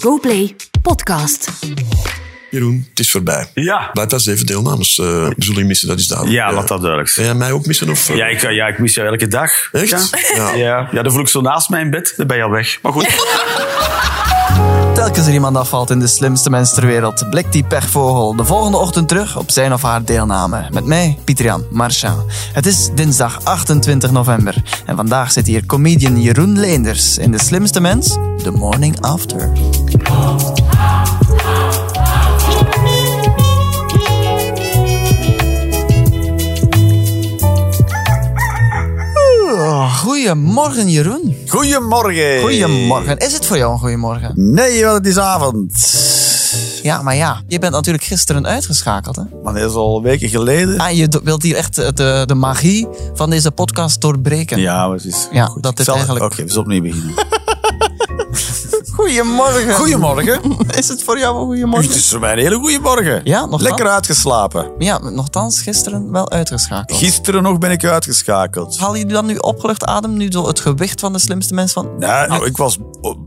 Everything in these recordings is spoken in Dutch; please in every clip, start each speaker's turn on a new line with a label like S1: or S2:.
S1: GoPlay Podcast.
S2: Jeroen, het is voorbij.
S3: Ja.
S2: Blijf wel zeven deelnames. eh zullen je missen, dat is duidelijk.
S3: Ja,
S2: Eh,
S3: laat dat duidelijk
S2: Ga
S3: zijn.
S2: jij mij ook missen? Of, eh,
S3: Ja, ik, ja, ik mis jou elke dag.
S2: Echt?
S3: Ja.
S2: Ja.
S3: Ja. Ja. dan voel ik zo naast mij in bed, dan ben je al weg. Maar goed.
S4: Telkens er iemand afvalt in de slimste mens ter wereld, blikt die pechvogel de volgende ochtend terug op zijn of haar deelname. Met mij, Pietrian Marchand. Het is dinsdag 28 november en vandaag zit hier comedian Jeroen Leenders in de slimste mens, The Morning After. Oh, Goedemorgen Jeroen.
S5: Goedemorgen.
S4: Goedemorgen. Is het voor jou een goedemorgen?
S5: Nee, want het is avond.
S4: Ja, maar ja, je bent natuurlijk gisteren uitgeschakeld. Hè?
S5: Maar dat is al weken geleden.
S4: Ah, je do- wilt hier echt eh, de, de magie van deze podcast doorbreken.
S5: Ja, maar het is
S4: Ja, dat is
S5: Zal-
S4: eigenlijk-
S5: Oké, we zullen opnieuw beginnen.
S4: Goedemorgen.
S5: Goedemorgen.
S4: Is het voor jou een
S5: het
S4: goedemorgen?
S5: is voor mij een hele goede morgen.
S4: Ja, nog
S5: Lekker
S4: wel?
S5: uitgeslapen.
S4: Ja, nogthans gisteren wel uitgeschakeld.
S5: Gisteren nog ben ik uitgeschakeld.
S4: Haal je dan nu opgelucht adem, nu zo het gewicht van de slimste mens van...
S5: Nou, nou, ik was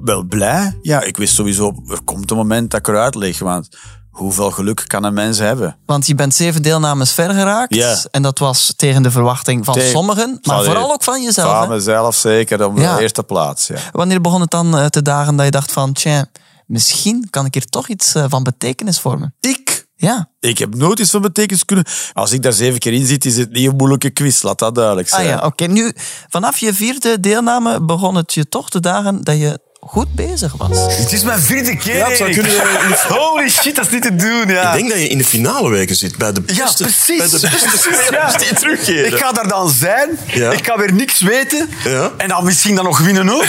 S5: wel blij. Ja, ik wist sowieso, er komt een moment dat ik eruit lig. Want hoeveel geluk kan een mens hebben?
S4: Want je bent zeven deelnames ver geraakt.
S5: Ja.
S4: En dat was tegen de verwachting van
S5: Tegen-
S4: sommigen, maar
S5: Allee.
S4: vooral ook van jezelf.
S5: Van
S4: hè?
S5: mezelf zeker, op
S4: Ja.
S5: de eerste plaats. Ja.
S4: Wanneer begon het dan eh, te dagen dat je dacht van... Tja, misschien kan ik hier toch iets eh, van betekenis voor me.
S5: Ik
S4: Ja.
S5: Ik heb nooit iets van betekenis kunnen. Als ik daar zeven keer in zit, is het niet een moeilijke quiz, laat dat duidelijk
S4: Ah
S5: zijn.
S4: ja, oké. Nu, vanaf je vierde deelname begon het je toch te dagen dat je goed bezig was.
S3: Het is mijn vierde keer.
S2: Ja, het zou
S3: Erik.
S2: kunnen-
S3: Holy shit, dat is niet te doen. Ja.
S2: Ik denk dat je in de finale weken zit. Bij de beste,
S3: Ja, precies.
S2: Bij de beste spelers
S3: Ja.
S2: die terugkeren.
S3: Ik ga daar dan zijn.
S2: Ja.
S3: Ik ga weer niks weten.
S2: Ja.
S3: En dan misschien dan nog winnen ook.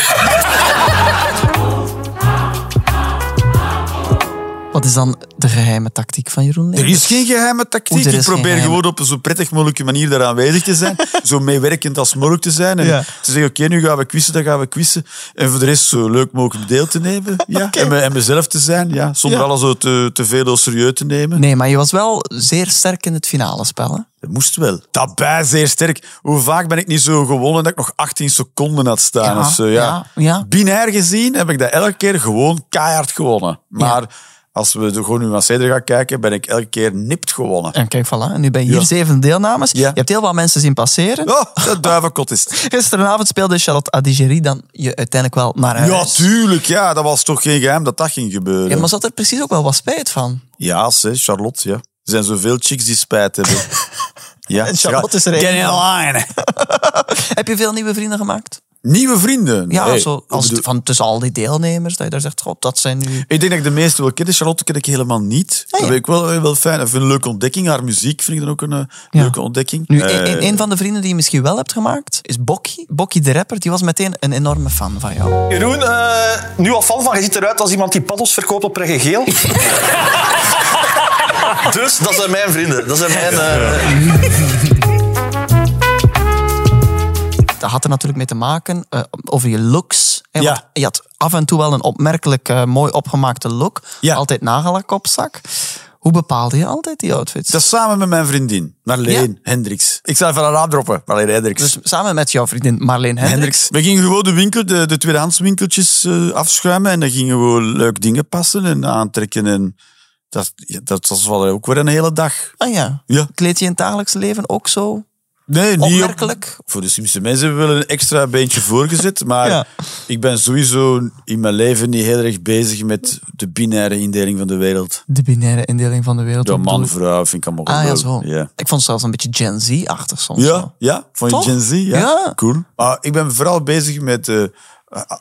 S4: Wat is dan de geheime tactiek van Jeroen
S5: Er
S4: Leenders?
S5: is geen geheime tactiek.
S4: Oeh, er
S5: ik
S4: is
S5: probeer
S4: geen geheime.
S5: gewoon op een zo prettig mogelijke manier daar aanwezig te zijn. zo meewerkend als mogelijk te zijn. En
S4: Ja.
S5: te zeggen, oké, nu gaan we quizzen, dan gaan we quizzen. En voor de rest zo leuk mogelijk deel te nemen. Ja.
S4: Oké.
S5: En, me- en mezelf te zijn, ja. Zonder
S4: Ja.
S5: alles zo te, te veel of serieus te nemen.
S4: Nee, maar je was wel zeer sterk in het finale spel. Hè?
S5: Dat moest wel. Daarbij zeer sterk. Hoe vaak ben ik niet zo gewonnen dat ik nog 18 seconden had staan
S4: Ja,
S5: of zo. Ja.
S4: ja, ja.
S5: Binair gezien heb ik dat elke keer gewoon keihard gewonnen. Maar
S4: Ja.
S5: als we de- gewoon nu aan Cedric gaan kijken, ben ik elke keer nipt gewonnen.
S4: En kijk, voilà. En nu ben je hier
S5: Ja.
S4: zeven deelnames.
S5: Ja.
S4: Je hebt heel wat mensen zien passeren.
S5: Oh, dat duivenkot is het.
S4: Gisteravond speelde Charlotte Adigéry dan je uiteindelijk wel naar huis.
S5: Ja, tuurlijk. Ja, dat was toch geen geheim dat dat ging gebeuren.
S4: Ja,
S5: Ja,
S4: maar zat er precies ook wel wat spijt van.
S5: ze, Charlotte, ja. Er zijn zoveel chicks die spijt hebben. ja,
S4: En Charlotte is er
S5: Get
S4: één.
S5: in line.
S4: Heb je veel nieuwe vrienden gemaakt?
S5: Nieuwe vrienden.
S4: Ja,
S5: Nee,
S4: zo,
S5: ik
S4: als,
S5: bedoel-
S4: van tussen al die deelnemers. Dat je daar zegt, god, dat zijn nu...
S5: Ik denk dat ik de meeste wel ken. Charlotte ken ik helemaal
S4: Ah,
S5: niet.
S4: ja.
S5: Dat vind ik wel, wel fijn. Ik vind een leuke ontdekking. Haar muziek vind ik dan ook een eh,
S4: Ja.
S5: leuke ontdekking.
S4: Nu,
S5: Eh,
S4: een, een- een van de vrienden die je misschien wel hebt gemaakt, is Bokkie. Bokkie de rapper, die was meteen een enorme fan van jou.
S6: Jeroen, eh, nu al fan van, je ziet eruit als iemand die paddels verkoopt op Regen Geel. dus, dat zijn mijn vrienden. Dat zijn mijn... eh,
S4: Dat had er natuurlijk mee te maken eh, over je looks. hè,
S5: Ja.
S4: want je had af en toe wel een opmerkelijk eh, mooi opgemaakte look.
S5: Ja.
S4: Altijd nagellak op zak. Hoe bepaalde je altijd die outfits?
S5: dat is samen met mijn vriendin, Marleen Hendricks. Ik zal even haar naam droppen, Marleen Hendricks.
S4: Dus samen met jouw vriendin Marleen Hendricks.
S5: Hendricks. We gingen gewoon de winkel, de, de tweedehands winkeltjes eh, afschuimen en dan gingen we gewoon leuk dingen passen en aantrekken. En dat, ja, dat was wel ook weer een hele dag.
S4: Ah ja.
S5: Ja.
S4: Kleed je in het dagelijks leven ook zo
S5: Nee, niet op-
S4: opmerkelijk?
S5: Voor de slimste mensen hebben we wel een extra beentje voorgezet. Maar
S4: Ja.
S5: ik ben sowieso in mijn leven niet heel erg bezig met de binaire indeling van de wereld.
S4: De binaire indeling van de wereld.
S5: Ja,
S4: wat bedoel
S5: man,
S4: je?
S5: vrouw, vind ik allemaal
S4: Ah ja,
S5: gelul.
S4: zo.
S5: Ja.
S4: Ik vond het zelfs een beetje Gen Z-achtig soms.
S5: Ja,
S4: wel.
S5: ja, van
S4: Toch?
S5: je Gen Z. Ja,
S4: Ja.
S5: cool. Maar Ah, ik ben vooral bezig met, eh,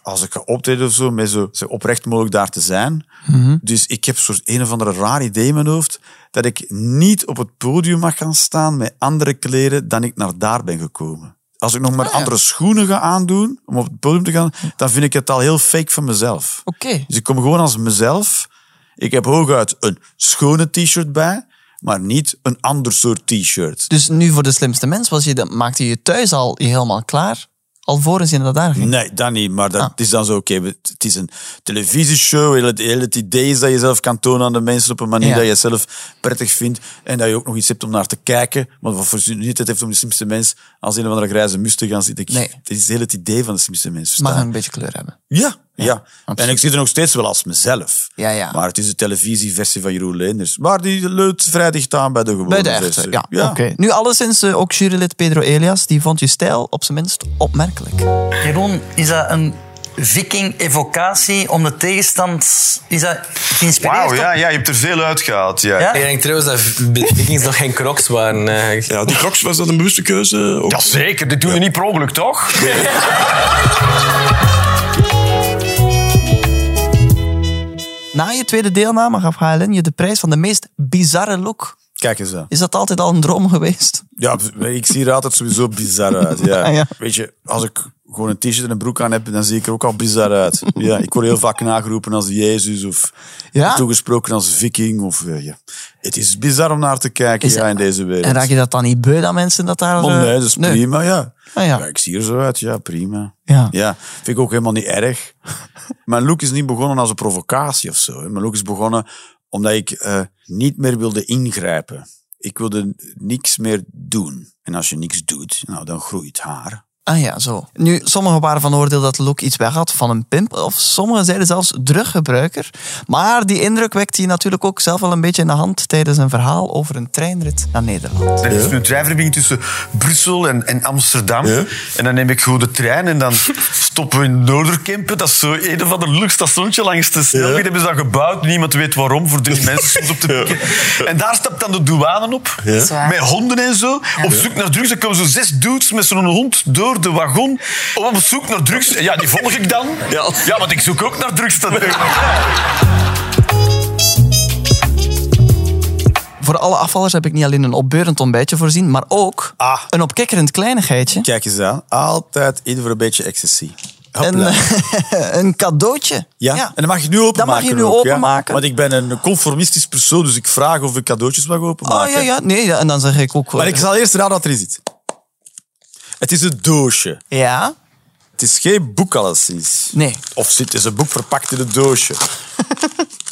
S5: als ik ga optreden of zo, met zo, zo oprecht mogelijk daar te zijn.
S4: Mhm.
S5: Dus ik heb soort een of andere raar idee in mijn hoofd dat ik niet op het podium mag gaan staan met andere kleren dan ik naar daar ben gekomen. Als ik nog
S4: Ah,
S5: maar andere schoenen ga aandoen om op het podium te gaan, dan vind ik het al heel fake van mezelf.
S4: Oké.
S5: Dus ik kom gewoon als mezelf. Ik heb hooguit een schone t-shirt bij, maar niet een ander soort t-shirt.
S4: Dus nu voor de slimste mens was je, dan maakte je thuis al je helemaal klaar. Alvorens je naar daar ging.
S5: Nee, dat niet. Maar dat
S4: Ah.
S5: het is dan zo, oké, we- het is een televisieshow. Heel het, heel het idee is dat je zelf kan tonen aan de mensen op een manier
S4: Ja.
S5: dat je het zelf prettig vindt. En dat je ook nog iets hebt om naar te kijken. Want wat voor zin het heeft om de slimste mens als een of andere grijze mus te gaan zitten. Ik-
S4: Nee.
S5: Dat is heel het idee van de slimste mens.
S4: Mag
S5: verstaan?
S4: een beetje kleur hebben.
S5: Ja, Ja, en
S4: absoluut.
S5: ik zie er nog steeds wel als mezelf.
S4: Ja, ja.
S5: Maar het is de televisieversie van Jeroen Leenders. Maar die leunt vrij dicht aan bij de gewone
S4: Bij de echte,
S5: versie.
S4: ja. Oké. Nu alleszins eh, ook jurylid Pedro Elias, die vond je stijl op zijn minst opmerkelijk.
S7: Jeroen, is dat een viking-evocatie om de tegenstand... Is dat geïnspireerd
S3: Wauw,
S7: op-
S3: ja, ja, je hebt er veel uitgehaald. Ja.
S7: Ja?
S8: Ik denk trouwens dat de Vikings nog geen crocs waren. eh.
S2: Ja, die Crocs, was dat een bewuste keuze? Ook-
S6: Jazeker, dit doen we niet per ongeluk, toch?
S4: Na je tweede deelname gaf HLN je de prijs van de meest bizarre look.
S5: Kijk eens aan.
S4: Is dat altijd al een droom geweest?
S5: Ja, ik zie er altijd sowieso bizar uit. Ja.
S4: Ah, Ja.
S5: Weet je, als ik gewoon een t-shirt en een broek aan heb, dan zie ik er ook al bizar uit. Ja, ik word heel vaak nageroepen als Jezus of
S4: Ja?
S5: toegesproken als viking. Of, eh, ja. Het is bizar om naar te kijken
S4: Is-
S5: ja, in deze wereld.
S4: En raak je dat dan niet beu dat mensen dat daar...
S5: Oh,
S4: eh,
S5: nee, dat is prima, ja.
S4: Ah, ja.
S5: ja. Ik zie er zo uit, ja, prima.
S4: Ja.
S5: vind ik ook helemaal niet erg. Mijn look is niet begonnen als een provocatie of zo. hè. Mijn look is begonnen omdat ik eh, niet meer wilde ingrijpen. Ik wilde niks meer doen. En als je niks doet, nou, dan groeit haar.
S4: Ah ja, zo. Nu, sommigen waren van oordeel dat de look iets weg had van een pimp. Of sommigen zeiden zelfs druggebruiker. Maar die indruk wekte je natuurlijk ook zelf wel een beetje in de hand tijdens een verhaal over een treinrit naar Nederland.
S6: Er is nu een treinverbinding tussen Brussel en, en Amsterdam.
S2: Ja.
S6: En dan neem ik gewoon de trein en dan stoppen we in Noorderkempen. Dat is zo een van de luxe stationtje langs de snelweg.
S2: Ja.
S6: Hebben ze dat gebouwd? Niemand weet waarom, voor drie mensen soms op de pikken. En daar stapt dan de douane op,
S1: is waar.
S6: met honden en zo, op zoek naar drugs. Dan komen zo zes dudes met zo'n hond door de wagon, op zoek naar drugs. Ja, die volg ik dan. Ja, want ik zoek ook naar drugs. Dat
S4: Voor alle afvallers heb ik niet alleen een opbeurend ontbijtje voorzien, maar ook
S5: Ah.
S4: een opkikkerend kleinigheidje.
S5: Kijk eens aan, altijd in voor een beetje ecstasy.
S4: Een,
S5: Hopla.
S4: een cadeautje.
S5: Ja, en dat mag je nu openmaken.
S4: mag je nu
S5: ook, ja.
S4: openmaken.
S5: Want ik ben een conformistisch persoon, dus ik vraag of ik cadeautjes mag openmaken.
S4: Oh ja, ja. Nee, ja, en dan zeg ik ook...
S5: Maar ik zal eerst raden wat erin zit. Het is een doosje.
S4: Ja?
S5: Het is geen boek alleszins.
S4: Nee.
S5: Of zit is een boek verpakt in een doosje.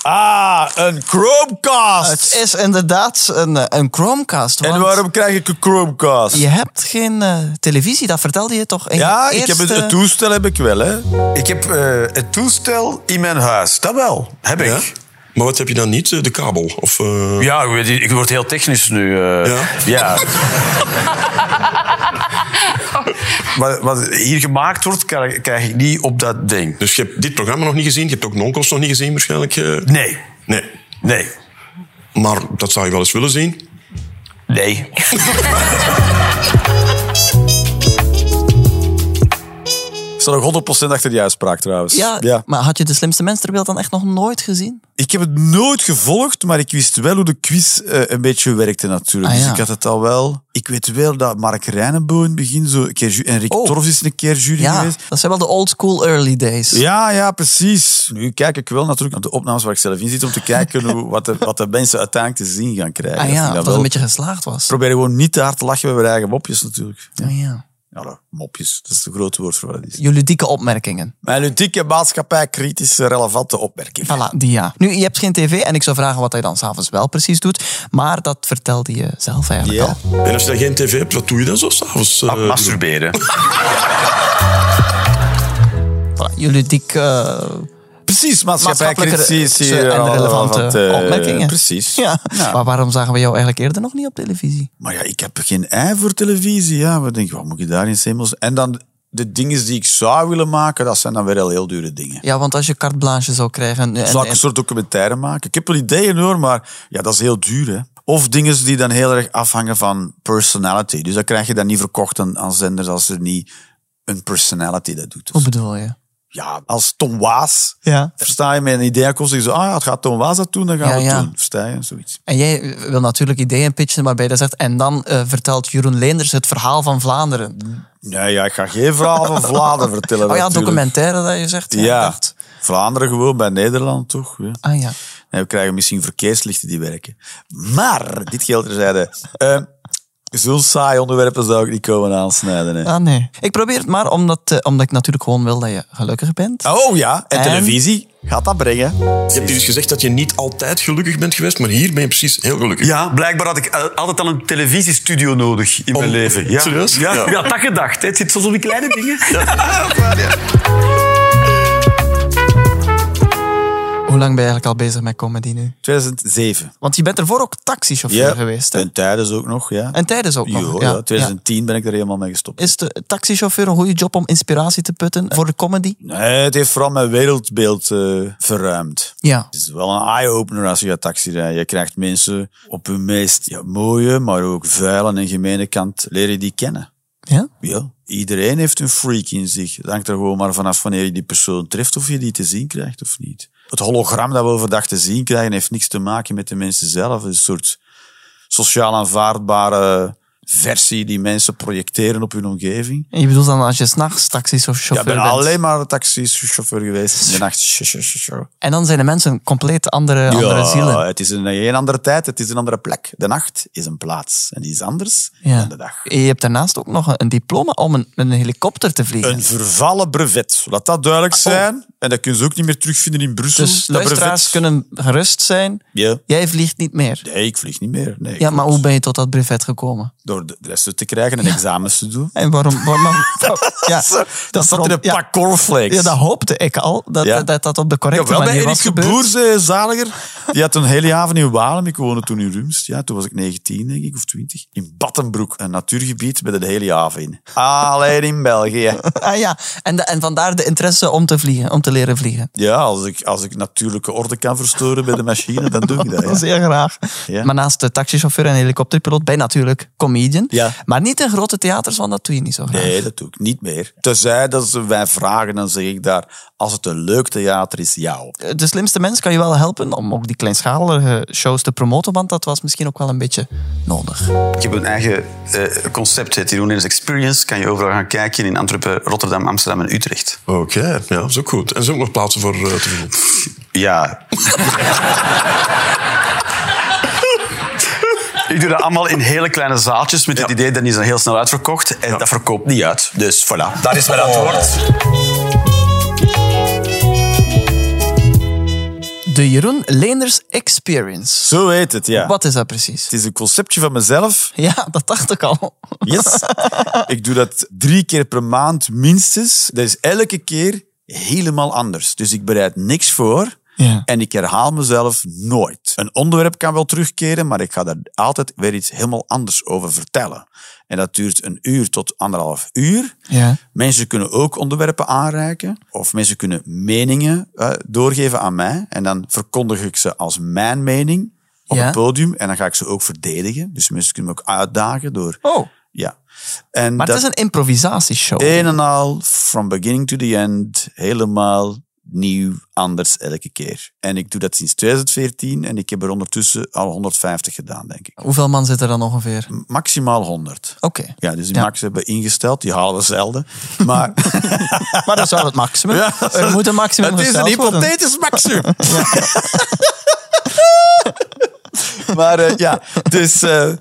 S5: ah, een Chromecast.
S4: Het is inderdaad een, eh, een Chromecast.
S5: En
S4: want
S5: waarom krijg ik een Chromecast?
S4: Je hebt geen eh, televisie, dat vertelde je toch? in je
S5: Ja, ik heb het,
S4: eerste-
S5: het toestel heb ik wel, hè.
S3: Ik heb eh, het toestel in mijn huis. Dat wel, heb ik.
S2: Ja? Maar wat heb je dan niet? Eh, De kabel? Of, eh,
S6: Ja, ik, weet niet, ik word heel technisch nu. eh.
S2: Ja?
S6: Ja. wat, wat hier gemaakt wordt, krijg, krijg ik niet op dat ding.
S2: Dus je hebt dit programma nog niet gezien. Je hebt ook Nonkels nog niet gezien waarschijnlijk. eh.
S6: Nee.
S2: Nee.
S6: Nee.
S2: Maar dat zou je wel eens willen zien.
S6: Nee.
S5: Ik sta nog 100% achter die uitspraak, trouwens.
S4: Ja, maar had je de slimste mens ter wereld dan echt nog nooit gezien?
S5: Ik heb het nooit gevolgd, maar ik wist wel hoe de quiz eh, een beetje werkte natuurlijk.
S4: Ah, ja.
S5: Dus ik had het al wel... Ik weet wel dat Mark Rijnenboom in het begin zo een keer... ju- En Rick
S4: Oh.
S5: Torfs is een keer jury
S4: Ja,
S5: geweest.
S4: dat zijn wel de old school early days.
S5: Ja, ja, precies. Nu kijk ik wel natuurlijk naar de opnames waar ik zelf in zit om te kijken hoe, wat, de, wat de mensen uiteindelijk te zien gaan krijgen.
S4: ah,
S5: Dat vind
S4: ja
S5: ik
S4: dat
S5: dan
S4: dat
S5: wel.
S4: een beetje geslaagd was.
S5: Probeer gewoon niet te hard te lachen bij je eigen mopjes natuurlijk. Ja.
S4: Ah, ja.
S5: Allo, mopjes, dat is een groot woord voor wat het is.
S4: Jullie dikke opmerkingen.
S5: Mijn ludieke maatschappij kritische relevante opmerking.
S4: Voilà, die ja. Nu, je hebt geen tv en ik zou vragen wat hij dan s'avonds wel precies doet. Maar dat vertelde je zelf eigenlijk
S5: Ja.
S4: al.
S2: En als je dan geen tv hebt, wat doe je dan zo s'avonds?
S3: Ah,
S2: eh,
S6: Masturberen.
S4: Voilà, jullie dikke... eh,
S5: Precies, maatschappij
S4: Maatschappelijke
S5: kritische
S4: re- en relevante
S5: relevante,
S4: opmerkingen.
S5: eh, Precies.
S4: ja.
S5: Ja.
S4: Maar waarom zagen we jou eigenlijk eerder nog niet op televisie?
S5: Maar ja, ik heb geen ei voor televisie. Ja, we denken, wat moet ik daar in Semmels? En dan de dingen die ik zou willen maken, dat zijn dan weer al heel dure dingen.
S4: Ja, want als je carte blanche zou krijgen... En,
S5: Zal ik
S4: en-
S5: een soort documentaire maken? Ik heb wel ideeën hoor, maar ja, dat is heel duur. Hè? Of dingen die dan heel erg afhangen van personality. Dus dat krijg je dan niet verkocht aan, aan zenders als er niet een personality dat doet. Dus
S4: Hoe bedoel je?
S5: ja, als Tom Waas,
S4: Ja.
S5: versta je, met een idee komt, zeg je zo, ah ja, het gaat Tom Waas dat doen, dan gaan
S4: Ja,
S5: we het
S4: ja.
S5: doen. Versta je? Zoiets.
S4: En jij eh, wil natuurlijk ideeën pitchen waarbij je dat zegt... En dan eh, vertelt Jeroen Leenders het verhaal van Vlaanderen.
S5: Nee, ja, ik ga geen verhaal van Vlaanderen vertellen.
S4: Oh ja,
S5: natuurlijk.
S4: documentaire dat je zegt. Ja. ik
S5: Ja,
S4: dacht-
S5: Vlaanderen gewoon bij Nederland, toch? Ja.
S4: Ah ja.
S5: Nee, we krijgen misschien verkeerslichten die werken. Maar, dit geldt terzijde. Eh Zo'n saai onderwerpen zou ik niet komen aansnijden. Hè.
S4: Ah nee. Ik probeer het maar omdat, eh, omdat ik natuurlijk gewoon wil dat je gelukkig bent.
S5: Oh ja, en,
S4: En?
S5: televisie gaat dat brengen.
S2: Je hebt hier eens gezegd dat je niet altijd gelukkig bent geweest, maar hier ben je precies heel gelukkig.
S6: Ja, blijkbaar had ik eh, altijd al een televisiestudio nodig in mijn
S2: Om-
S6: leven. Ja.
S2: Serieus?
S6: Ja,
S2: Ja.
S6: ik had dat gedacht. hè. Het zit soms op die kleine dingen.
S4: Hoe lang ben je eigenlijk al bezig met comedy nu?
S5: 2007.
S4: Want je bent ervoor ook taxichauffeur geweest. Hè?
S5: En tijdens ook nog, ja.
S4: En tijdens ook
S5: Jo,
S4: nog.
S5: ja,
S4: ja.
S5: 2010 ben ik er helemaal mee gestopt.
S4: Ja. Is de taxichauffeur een goede job om inspiratie te putten voor de comedy?
S5: Nee, het heeft vooral mijn wereldbeeld eh, verruimd.
S4: Ja.
S5: Het is wel een eye-opener als je gaat taxi rijden. Je krijgt mensen op hun meest ja, mooie, maar ook vuile en gemene kant leren die kennen.
S4: Ja?
S5: Ja, iedereen heeft een freak in zich. Het hangt er gewoon maar vanaf wanneer je die persoon treft of je die te zien krijgt of niet. Het hologram dat we overdag te zien krijgen heeft niks te maken met de mensen zelf. Het is Een soort sociaal aanvaardbare versie die mensen projecteren op hun omgeving.
S4: En je bedoelt dan als je s'nachts
S5: Ja, ik
S4: taxichauffeur
S5: ben
S4: bent.
S5: alleen maar taxichauffeur geweest. In de nacht.
S4: En dan zijn de mensen compleet andere, andere zielen.
S5: het is een, geen andere tijd, het is een andere plek. De nacht is een plaats en die is anders
S4: Ja.
S5: dan de dag.
S4: Je hebt daarnaast ook nog een- een diploma om een, met een helikopter te vliegen.
S5: Een vervallen brevet, laat dat duidelijk zijn. En dat kunnen ze ook niet meer terugvinden in Brussel.
S4: Oh. dus
S5: dat
S4: luisteraars
S5: brevet.
S4: kunnen gerust zijn.
S5: Ja.
S4: Jij vliegt niet meer.
S5: Nee, ik vlieg niet meer. Nee,
S4: Ja,
S5: klopt.
S4: maar hoe ben je tot dat brevet gekomen?
S5: Door de lessen te krijgen en examens te doen.
S4: En waarom? waarom ja,
S5: Zo, dat zat in een
S4: ja,
S5: pak cornflakes.
S4: Ja, dat hoopte ik al, dat
S5: Ja.
S4: dat, dat, dat op de
S5: Ja,
S4: correcte
S5: wel bij
S4: manier
S5: Erik
S4: was
S5: de
S4: gebeurd.
S5: Boer, zei zaliger. Die had een hele avond in Walem. Ik woonde toen in Rumst. Ja, toen was ik 19, denk ik, of 20. In Battenbroek, een natuurgebied met de hele haven in. Alleen in België.
S4: Ah ja, en, de- en vandaar de interesse om te vliegen, om te leren vliegen.
S5: Ja, als ik, als ik natuurlijke orde kan verstoren bij de machine, dan doe ik dat.
S4: Dat is
S5: Ja.
S4: heel graag.
S5: Ja.
S4: Maar naast de taxichauffeur en helikopterpiloot ben je natuurlijk comedian.
S5: Ja.
S4: Maar niet in grote theaters, want dat doe je niet zo graag.
S5: Nee, dat doe ik niet meer. Tenzij dat ze mij vragen, dan zeg ik daar, als het een leuk theater is, jou.
S4: De slimste mens kan je wel helpen om ook die kleinschalige shows te promoten, want dat was misschien ook wel een beetje nodig.
S9: Ik heb een eigen eh, concept, heet Ironeers Experience. Kan je overal gaan kijken in Antwerpen, Rotterdam, Amsterdam en Utrecht.
S2: Oké, ja, dat is ook goed. En er zijn ook nog plaatsen voor eh, te vinden.
S9: Ja. Ik doe dat allemaal in hele kleine zaaltjes met het idee dat is dan heel snel uitverkocht. En dat verkoopt niet uit. Dus voilà, daar is mijn antwoord.
S4: De Jeroen Leenders Experience.
S5: Zo heet het, ja.
S4: Wat is dat precies?
S5: Het is een conceptje van mezelf.
S4: Ja, dat dacht ik al.
S5: Yes. ik doe dat drie keer per maand minstens. Dat is elke keer helemaal anders. Dus ik bereid niks voor.
S4: Ja.
S5: En ik herhaal mezelf nooit. Een onderwerp kan wel terugkeren, maar ik ga daar altijd weer iets helemaal anders over vertellen. En dat duurt een uur tot anderhalf uur.
S4: Ja.
S5: Mensen kunnen ook onderwerpen aanreiken. Of mensen kunnen meningen eh, doorgeven aan mij. En dan verkondig ik ze als mijn mening op
S4: Ja.
S5: het podium. En dan ga ik ze ook verdedigen. Dus mensen kunnen me ook uitdagen door...
S4: Oh,
S5: Ja. En
S4: maar
S5: dat Eh.
S4: het is een improvisatieshow.
S5: een en al, from beginning to the end, helemaal nieuw, anders elke keer. En ik doe dat sinds 2014 en ik heb er ondertussen al 150 gedaan, denk ik.
S4: Hoeveel man zit er dan ongeveer? Oké.
S5: Maximaal 100. Ja, dus die
S4: Ja.
S5: max hebben we ingesteld, die halen we zelden. Maar
S4: Maar dat is wel het maximum. Er moet een maximum
S5: het is een
S4: gesteld worden.
S5: hypothetisch maximum. maar eh, ja, dus... eh,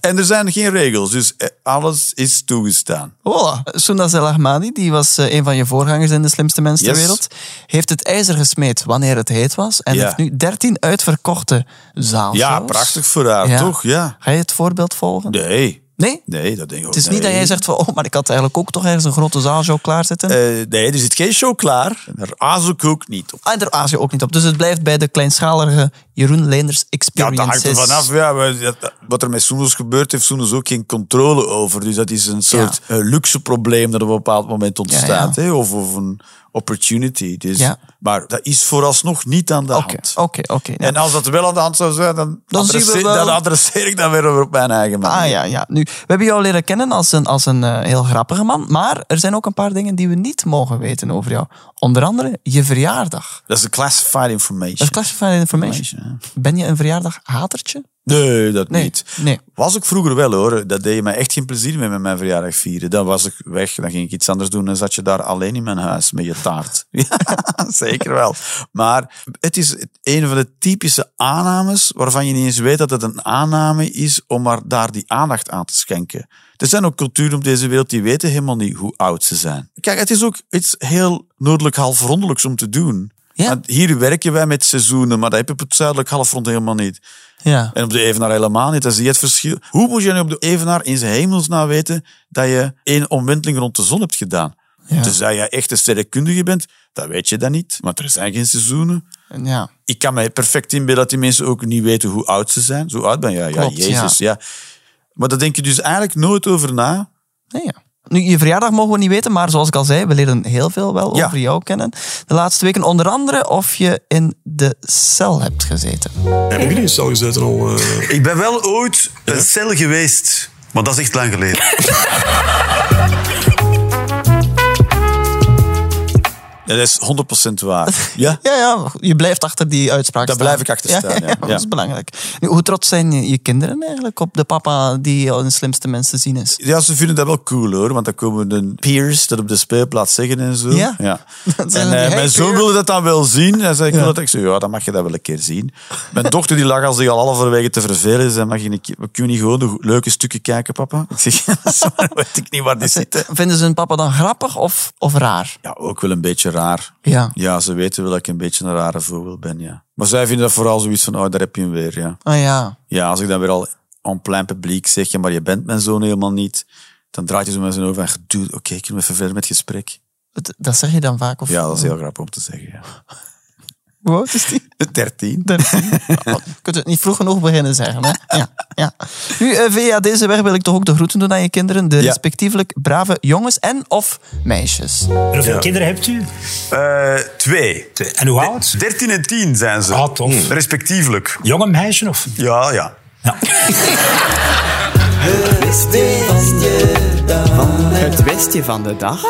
S5: en er zijn geen regels, dus eh, alles is toegestaan.
S4: Voilà. Sundas El Ahmadi, die was eh, een van je voorgangers in de slimste mens ter
S5: Yes.
S4: wereld, heeft het ijzer gesmeed wanneer het heet was en
S5: Ja.
S4: heeft nu 13 uitverkochte zaalshows.
S5: Ja, prachtig voor haar,
S4: Ja.
S5: toch? Ja.
S4: Ga je het voorbeeld volgen?
S5: Nee.
S4: Nee?
S5: Nee, dat denk ik ook
S4: Het is niet dat jij zegt van, oh, maar ik had eigenlijk ook toch ergens een grote zaalshow klaarzitten.
S5: Eh, nee, er zit geen show klaar. En Daar aas ik ook niet op.
S4: Ah, daar aas je ook niet op. Dus het blijft bij de kleinschalige Jeroen Leenders
S5: Ja,
S4: Experience.
S5: dat hangt er vanaf. Ja, maar dat- wat er met Soenos gebeurt, heeft Soenos ook geen controle over. Dus dat is een soort eh, luxe probleem dat op een bepaald moment ontstaat. Hè? Of, of een opportunity. Dus,
S4: Ja.
S5: Maar dat is vooralsnog niet aan de
S4: Oké,
S5: hand.
S4: oké, oké. ja.
S5: En als dat wel aan de hand zou zijn, dan,
S4: Dan zien we
S5: adresseer,
S4: wel-
S5: dan adresseer ik dat weer op mijn eigen manier.
S4: Ah ja, ja. Nu, we hebben jou leren kennen als een, als een eh, heel grappige man. Maar er zijn ook een paar dingen die we niet mogen weten over jou. Onder andere je verjaardag.
S5: Dat is de classified information.
S4: Dat is classified information. Ben je een verjaardaghatertje?
S5: Nee, dat
S4: Nee,
S5: niet.
S4: nee.
S5: Was ik vroeger wel hoor. Dat deed je mij echt geen plezier mee met mijn verjaardag vieren. Dan was ik weg, dan ging ik iets anders doen. Dan zat je daar alleen in mijn huis met je taart. ja, zeker wel. Maar het is een van de typische aannames waarvan je niet eens weet dat het een aanname is om maar daar die aandacht aan te schenken. Er zijn ook culturen op deze wereld die weten helemaal niet hoe oud ze zijn. Kijk, het is ook iets heel noordelijk halfrondelijks om te doen.
S4: Ja.
S5: Want hier werken wij met seizoenen, maar dat heb je op het zuidelijk halfrond helemaal niet.
S4: Ja.
S5: En op de evenaar helemaal niet. Dat is niet het verschil. Hoe moet je nu op de evenaar in zijn hemelsnaam weten dat je één omwenteling rond de zon hebt gedaan?
S4: Ja.
S5: Tenzij je echt een sterrenkundige bent, dat weet je dan niet. Want er zijn geen seizoenen.
S4: En ja.
S5: Ik kan me perfect inbeelden dat die mensen ook niet weten hoe oud ze zijn. Zo oud ben je. Ja,
S4: Klopt,
S5: Jezus, ja. Maar daar denk je dus eigenlijk nooit over na.
S4: Nee, ja. Nu, je verjaardag mogen we niet weten, maar zoals ik al zei, we leren heel veel wel
S5: Ja.
S4: over jou kennen. De laatste weken onder andere of je in de cel hebt gezeten.
S2: Hebben jullie in cel gezeten al? eh?
S9: Ik ben wel ooit een cel geweest, maar dat is echt lang geleden.
S5: Ja, Dat is 100% waar. Ja,
S4: Ja, ja, je blijft achter die uitspraak
S5: Daar
S4: staan.
S5: blijf ik achter staan, ja.
S4: Dat
S5: Ja.
S4: is belangrijk. Nu, hoe trots zijn je, je kinderen eigenlijk op de papa die al de slimste mens te zien is?
S5: ja, ze vinden dat wel cool hoor, want dan komen de peers dat op de speelplaats zeggen en zo.
S4: Ja.
S5: En
S4: Dan zeggen
S5: eh,
S4: die, hey,
S5: mijn zoon
S4: peer.
S5: wilde dat dan wel zien. Hij zei, ik wil dat. Ik zei, ja, dan mag je dat wel een keer zien. Mijn dochter die lag al zich al halverwege te vervelen. Ze zei, mag je niet, kunnen we niet gewoon de go- leuke stukken kijken, papa? Ik zeg, sorry, weet ik niet waar die zitten.
S4: Eh, Vinden ze hun papa dan grappig of, of raar?
S5: Ja, ook wel een beetje raar.
S4: Ja.
S5: Ja, ze weten wel dat ik een beetje een rare voorbeeld ben, ja. Maar zij vinden dat vooral zoiets van, oh, daar heb je hem weer, ja.
S4: Ah ja.
S5: Ja, als ik dan weer al aan plein publiek zeg, ja, maar je bent mijn zoon helemaal niet. Dan draait je zo met zijn over en doet, oké, kunnen we even verder met het gesprek?
S4: Het- Dat zeg je dan vaak? Of,
S5: Ja, dat is heel grappig om te zeggen, ja.
S4: Hoe oud is die?
S5: 13.
S4: Oh, je kunt het niet vroeg genoeg beginnen zeggen. Hè? Ja, ja. Nu, eh, via deze weg wil ik toch ook de groeten doen aan je kinderen. De
S5: Ja.
S4: respectievelijk brave jongens en of meisjes.
S10: En hoeveel kinderen hebt u?
S9: twee.
S10: En hoe oud?
S9: 13 en 10 zijn ze.
S10: Ah, tof.
S9: Respectievelijk.
S10: Jonge meisje of?
S9: Ja, ja.
S11: Het westje van de dag.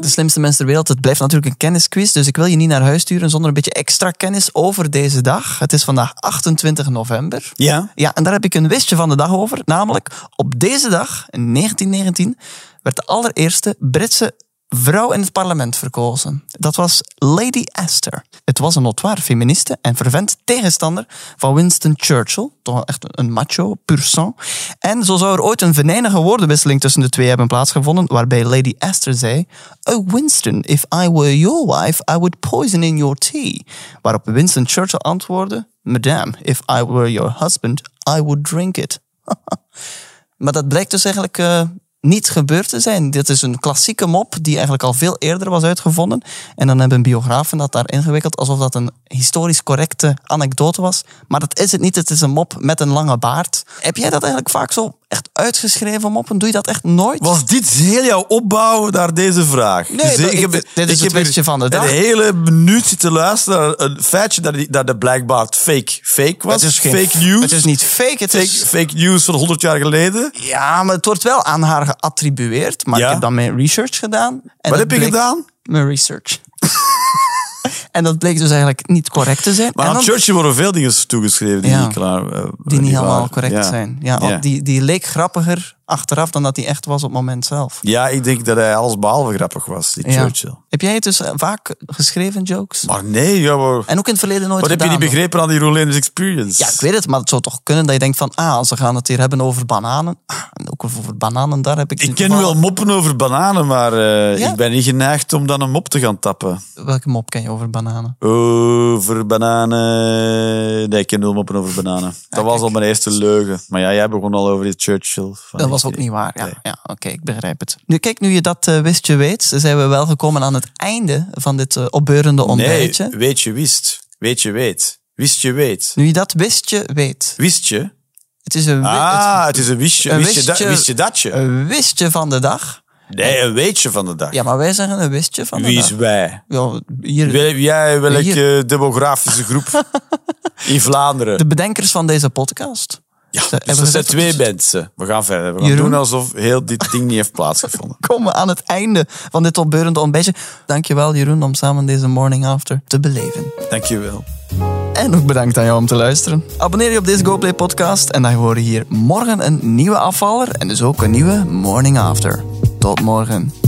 S4: De slimste mensen ter wereld. Het blijft natuurlijk een kennisquiz, dus ik wil je niet naar huis sturen zonder een beetje extra kennis over deze dag. Het is vandaag 28 november.
S5: Ja.
S4: Ja, en daar heb ik een wistje van de dag over. Namelijk, op deze dag, in 1919, werd de allereerste Britse vrouw in het parlement verkozen. Dat was Lady Astor. Het was een notoire feministe en vervent tegenstander van Winston Churchill. Toch wel echt een macho, pur sang. En zo zou er ooit een venijnige woordenwisseling tussen de twee hebben plaatsgevonden, waarbij Lady Astor zei... Oh Winston, if I were your wife, I would poison in your tea. Waarop Winston Churchill antwoordde... Madame, if I were your husband, I would drink it. maar dat blijkt dus eigenlijk eh, niet gebeurd te zijn. Dit is een klassieke mop die eigenlijk al veel eerder was uitgevonden. En dan hebben biografen dat daar ingewikkeld alsof dat een historisch correcte anekdote was. Maar dat is het niet. Het is een mop met een lange baard. Heb jij dat eigenlijk vaak zo echt uitgeschreven moppen? Doe je dat echt nooit?
S5: Was dit heel jouw opbouw naar deze vraag? Dus, eh,
S4: Nee, dat- ik- dit is het
S5: hier
S4: westje van de dag.
S5: Een hele minuut zitten luisteren naar een feitje dat, die- dat de blijkbaar fake, fake was. fake news.
S4: Het is niet fake. Het
S5: fake,
S4: is
S5: fake news van 100 jaar geleden.
S4: Ja, maar het wordt wel aan haar geattribueerd. Maar
S5: Ja.
S4: ik heb dan mijn research gedaan. En
S5: Wat
S4: dat
S5: heb je
S4: bleek-
S5: gedaan?
S4: Mijn research. en dat bleek dus eigenlijk niet correct te zijn.
S5: Maar
S4: en
S5: aan
S4: dan-
S5: Churchill worden veel dingen toegeschreven die
S4: Ja.
S5: niet klaar eh,
S4: die niet
S5: waren.
S4: helemaal correct
S5: Ja.
S4: zijn. Ja,
S5: Ja.
S4: Die, die leek grappiger achteraf dan dat die echt was op het moment zelf.
S5: Ja, ik denk dat hij alles behalve grappig was, die
S4: Ja.
S5: Churchill.
S4: Heb jij het dus eh, vaak geschreven, jokes?
S5: Maar nee, ja, maar...
S4: En ook in het verleden nooit
S5: wat heb je
S4: gedaan,
S5: niet
S4: hoor.
S5: begrepen aan die Rolanders Experience?
S4: Ja, ik weet het, maar het zou toch kunnen dat je denkt van... Ah, ze gaan het hier hebben over bananen. Ah, en ook over bananen, daar heb ik... nu
S5: Ik ken
S4: toevallig-
S5: wel moppen over bananen, maar eh,
S4: Ja?
S5: ik ben niet geneigd om dan een mop te gaan tappen.
S4: Welke mop ken je over bananen?
S5: Over bananen. Nee, ik ken nul moppen over bananen. dat was al mijn eerste leugen. Maar ja, jij begon al over die Churchill. Van,
S4: Dat was
S5: ik-
S4: ook niet waar. Ja, ja oké, ik begrijp het. Nu, kijk, nu je dat eh, wist, je weet, zijn we wel gekomen aan het einde van dit eh, opbeurende
S5: Nee,
S4: ontbijtje.
S5: weet je wist. Weet je weet. Wist je weet.
S4: Nu je dat wist, je weet.
S5: Wist je?
S4: Het is een, wi-
S5: Ah, het is een wistje.
S4: Een
S5: wist, je dat,
S4: wistje-
S5: wist je dat je?
S4: een wistje van de dag.
S5: Nee, een weetje van de dag.
S4: Ja, maar wij zeggen een wistje van de
S5: Wie
S4: dag.
S5: is wij?
S4: Ja, hier,
S5: Wel- Jij, welke
S4: Hier.
S5: demografische groep in Vlaanderen?
S4: de bedenkers van deze podcast. Ja,
S5: Dus dat zijn twee mensen. We gaan verder. We gaan
S4: Jeroen?
S5: doen alsof heel dit ding niet heeft plaatsgevonden.
S4: komen aan het einde van dit opbeurende ontbijtje. Dankjewel Jeroen om samen deze morning after te beleven.
S5: Dankjewel.
S4: En ook bedankt aan jou om te luisteren. Abonneer je op deze GoPlay podcast en dan horen je hier morgen een nieuwe afvaller en dus ook een nieuwe morning after. Tot morgen.